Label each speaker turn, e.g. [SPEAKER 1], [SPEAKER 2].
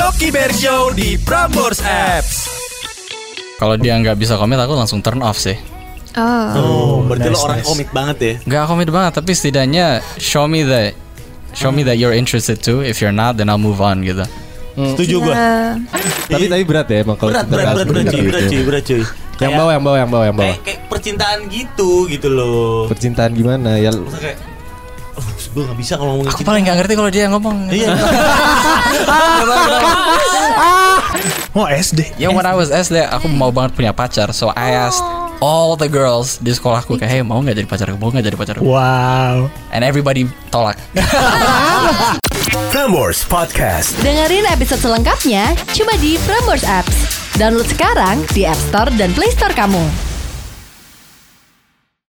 [SPEAKER 1] Oki Bear Show di Prambors Apps.
[SPEAKER 2] Kalau dia nggak bisa komit aku langsung turn off sih.
[SPEAKER 3] Oh.
[SPEAKER 1] Oh, berarti
[SPEAKER 4] nice,
[SPEAKER 1] lo orang
[SPEAKER 4] nice.
[SPEAKER 1] komit banget ya.
[SPEAKER 2] Nggak komit banget tapi setidaknya show me that show me that you're interested too. If you're not, then I'll move on gitu.
[SPEAKER 4] Setuju gua.
[SPEAKER 3] Eh,
[SPEAKER 5] Tapi tapi berat ya emang kalau
[SPEAKER 1] Berat,
[SPEAKER 5] kita
[SPEAKER 1] berat,
[SPEAKER 5] bahas
[SPEAKER 1] berat, berat,
[SPEAKER 5] seperti
[SPEAKER 1] cuy, berat,
[SPEAKER 5] itu.
[SPEAKER 1] cuy, berat, cuy.
[SPEAKER 5] Yang
[SPEAKER 1] Kayak-
[SPEAKER 5] bawah, yang bawah, yang bawah, yang bawah.
[SPEAKER 1] Kayak, kayak percintaan gitu, gitu loh.
[SPEAKER 5] Percintaan gimana ya?
[SPEAKER 1] Masa kayak, oh, gue gak bisa kalau ngomongin
[SPEAKER 2] Aku
[SPEAKER 1] cinta.
[SPEAKER 2] paling nggak ngerti kalau dia yang ngomong.
[SPEAKER 1] Iya.
[SPEAKER 4] Oh SD.
[SPEAKER 2] Ya when I was SD aku mau banget punya pacar So I asked all the girls di sekolahku kayak hey mau nggak jadi pacar aku mau nggak jadi pacar aku
[SPEAKER 4] Wow.
[SPEAKER 2] and everybody tolak
[SPEAKER 4] Prambors Podcast.
[SPEAKER 3] dengerin episode selengkapnya cuma di Prambors Apps. Download sekarang di App Store dan Play Store kamu.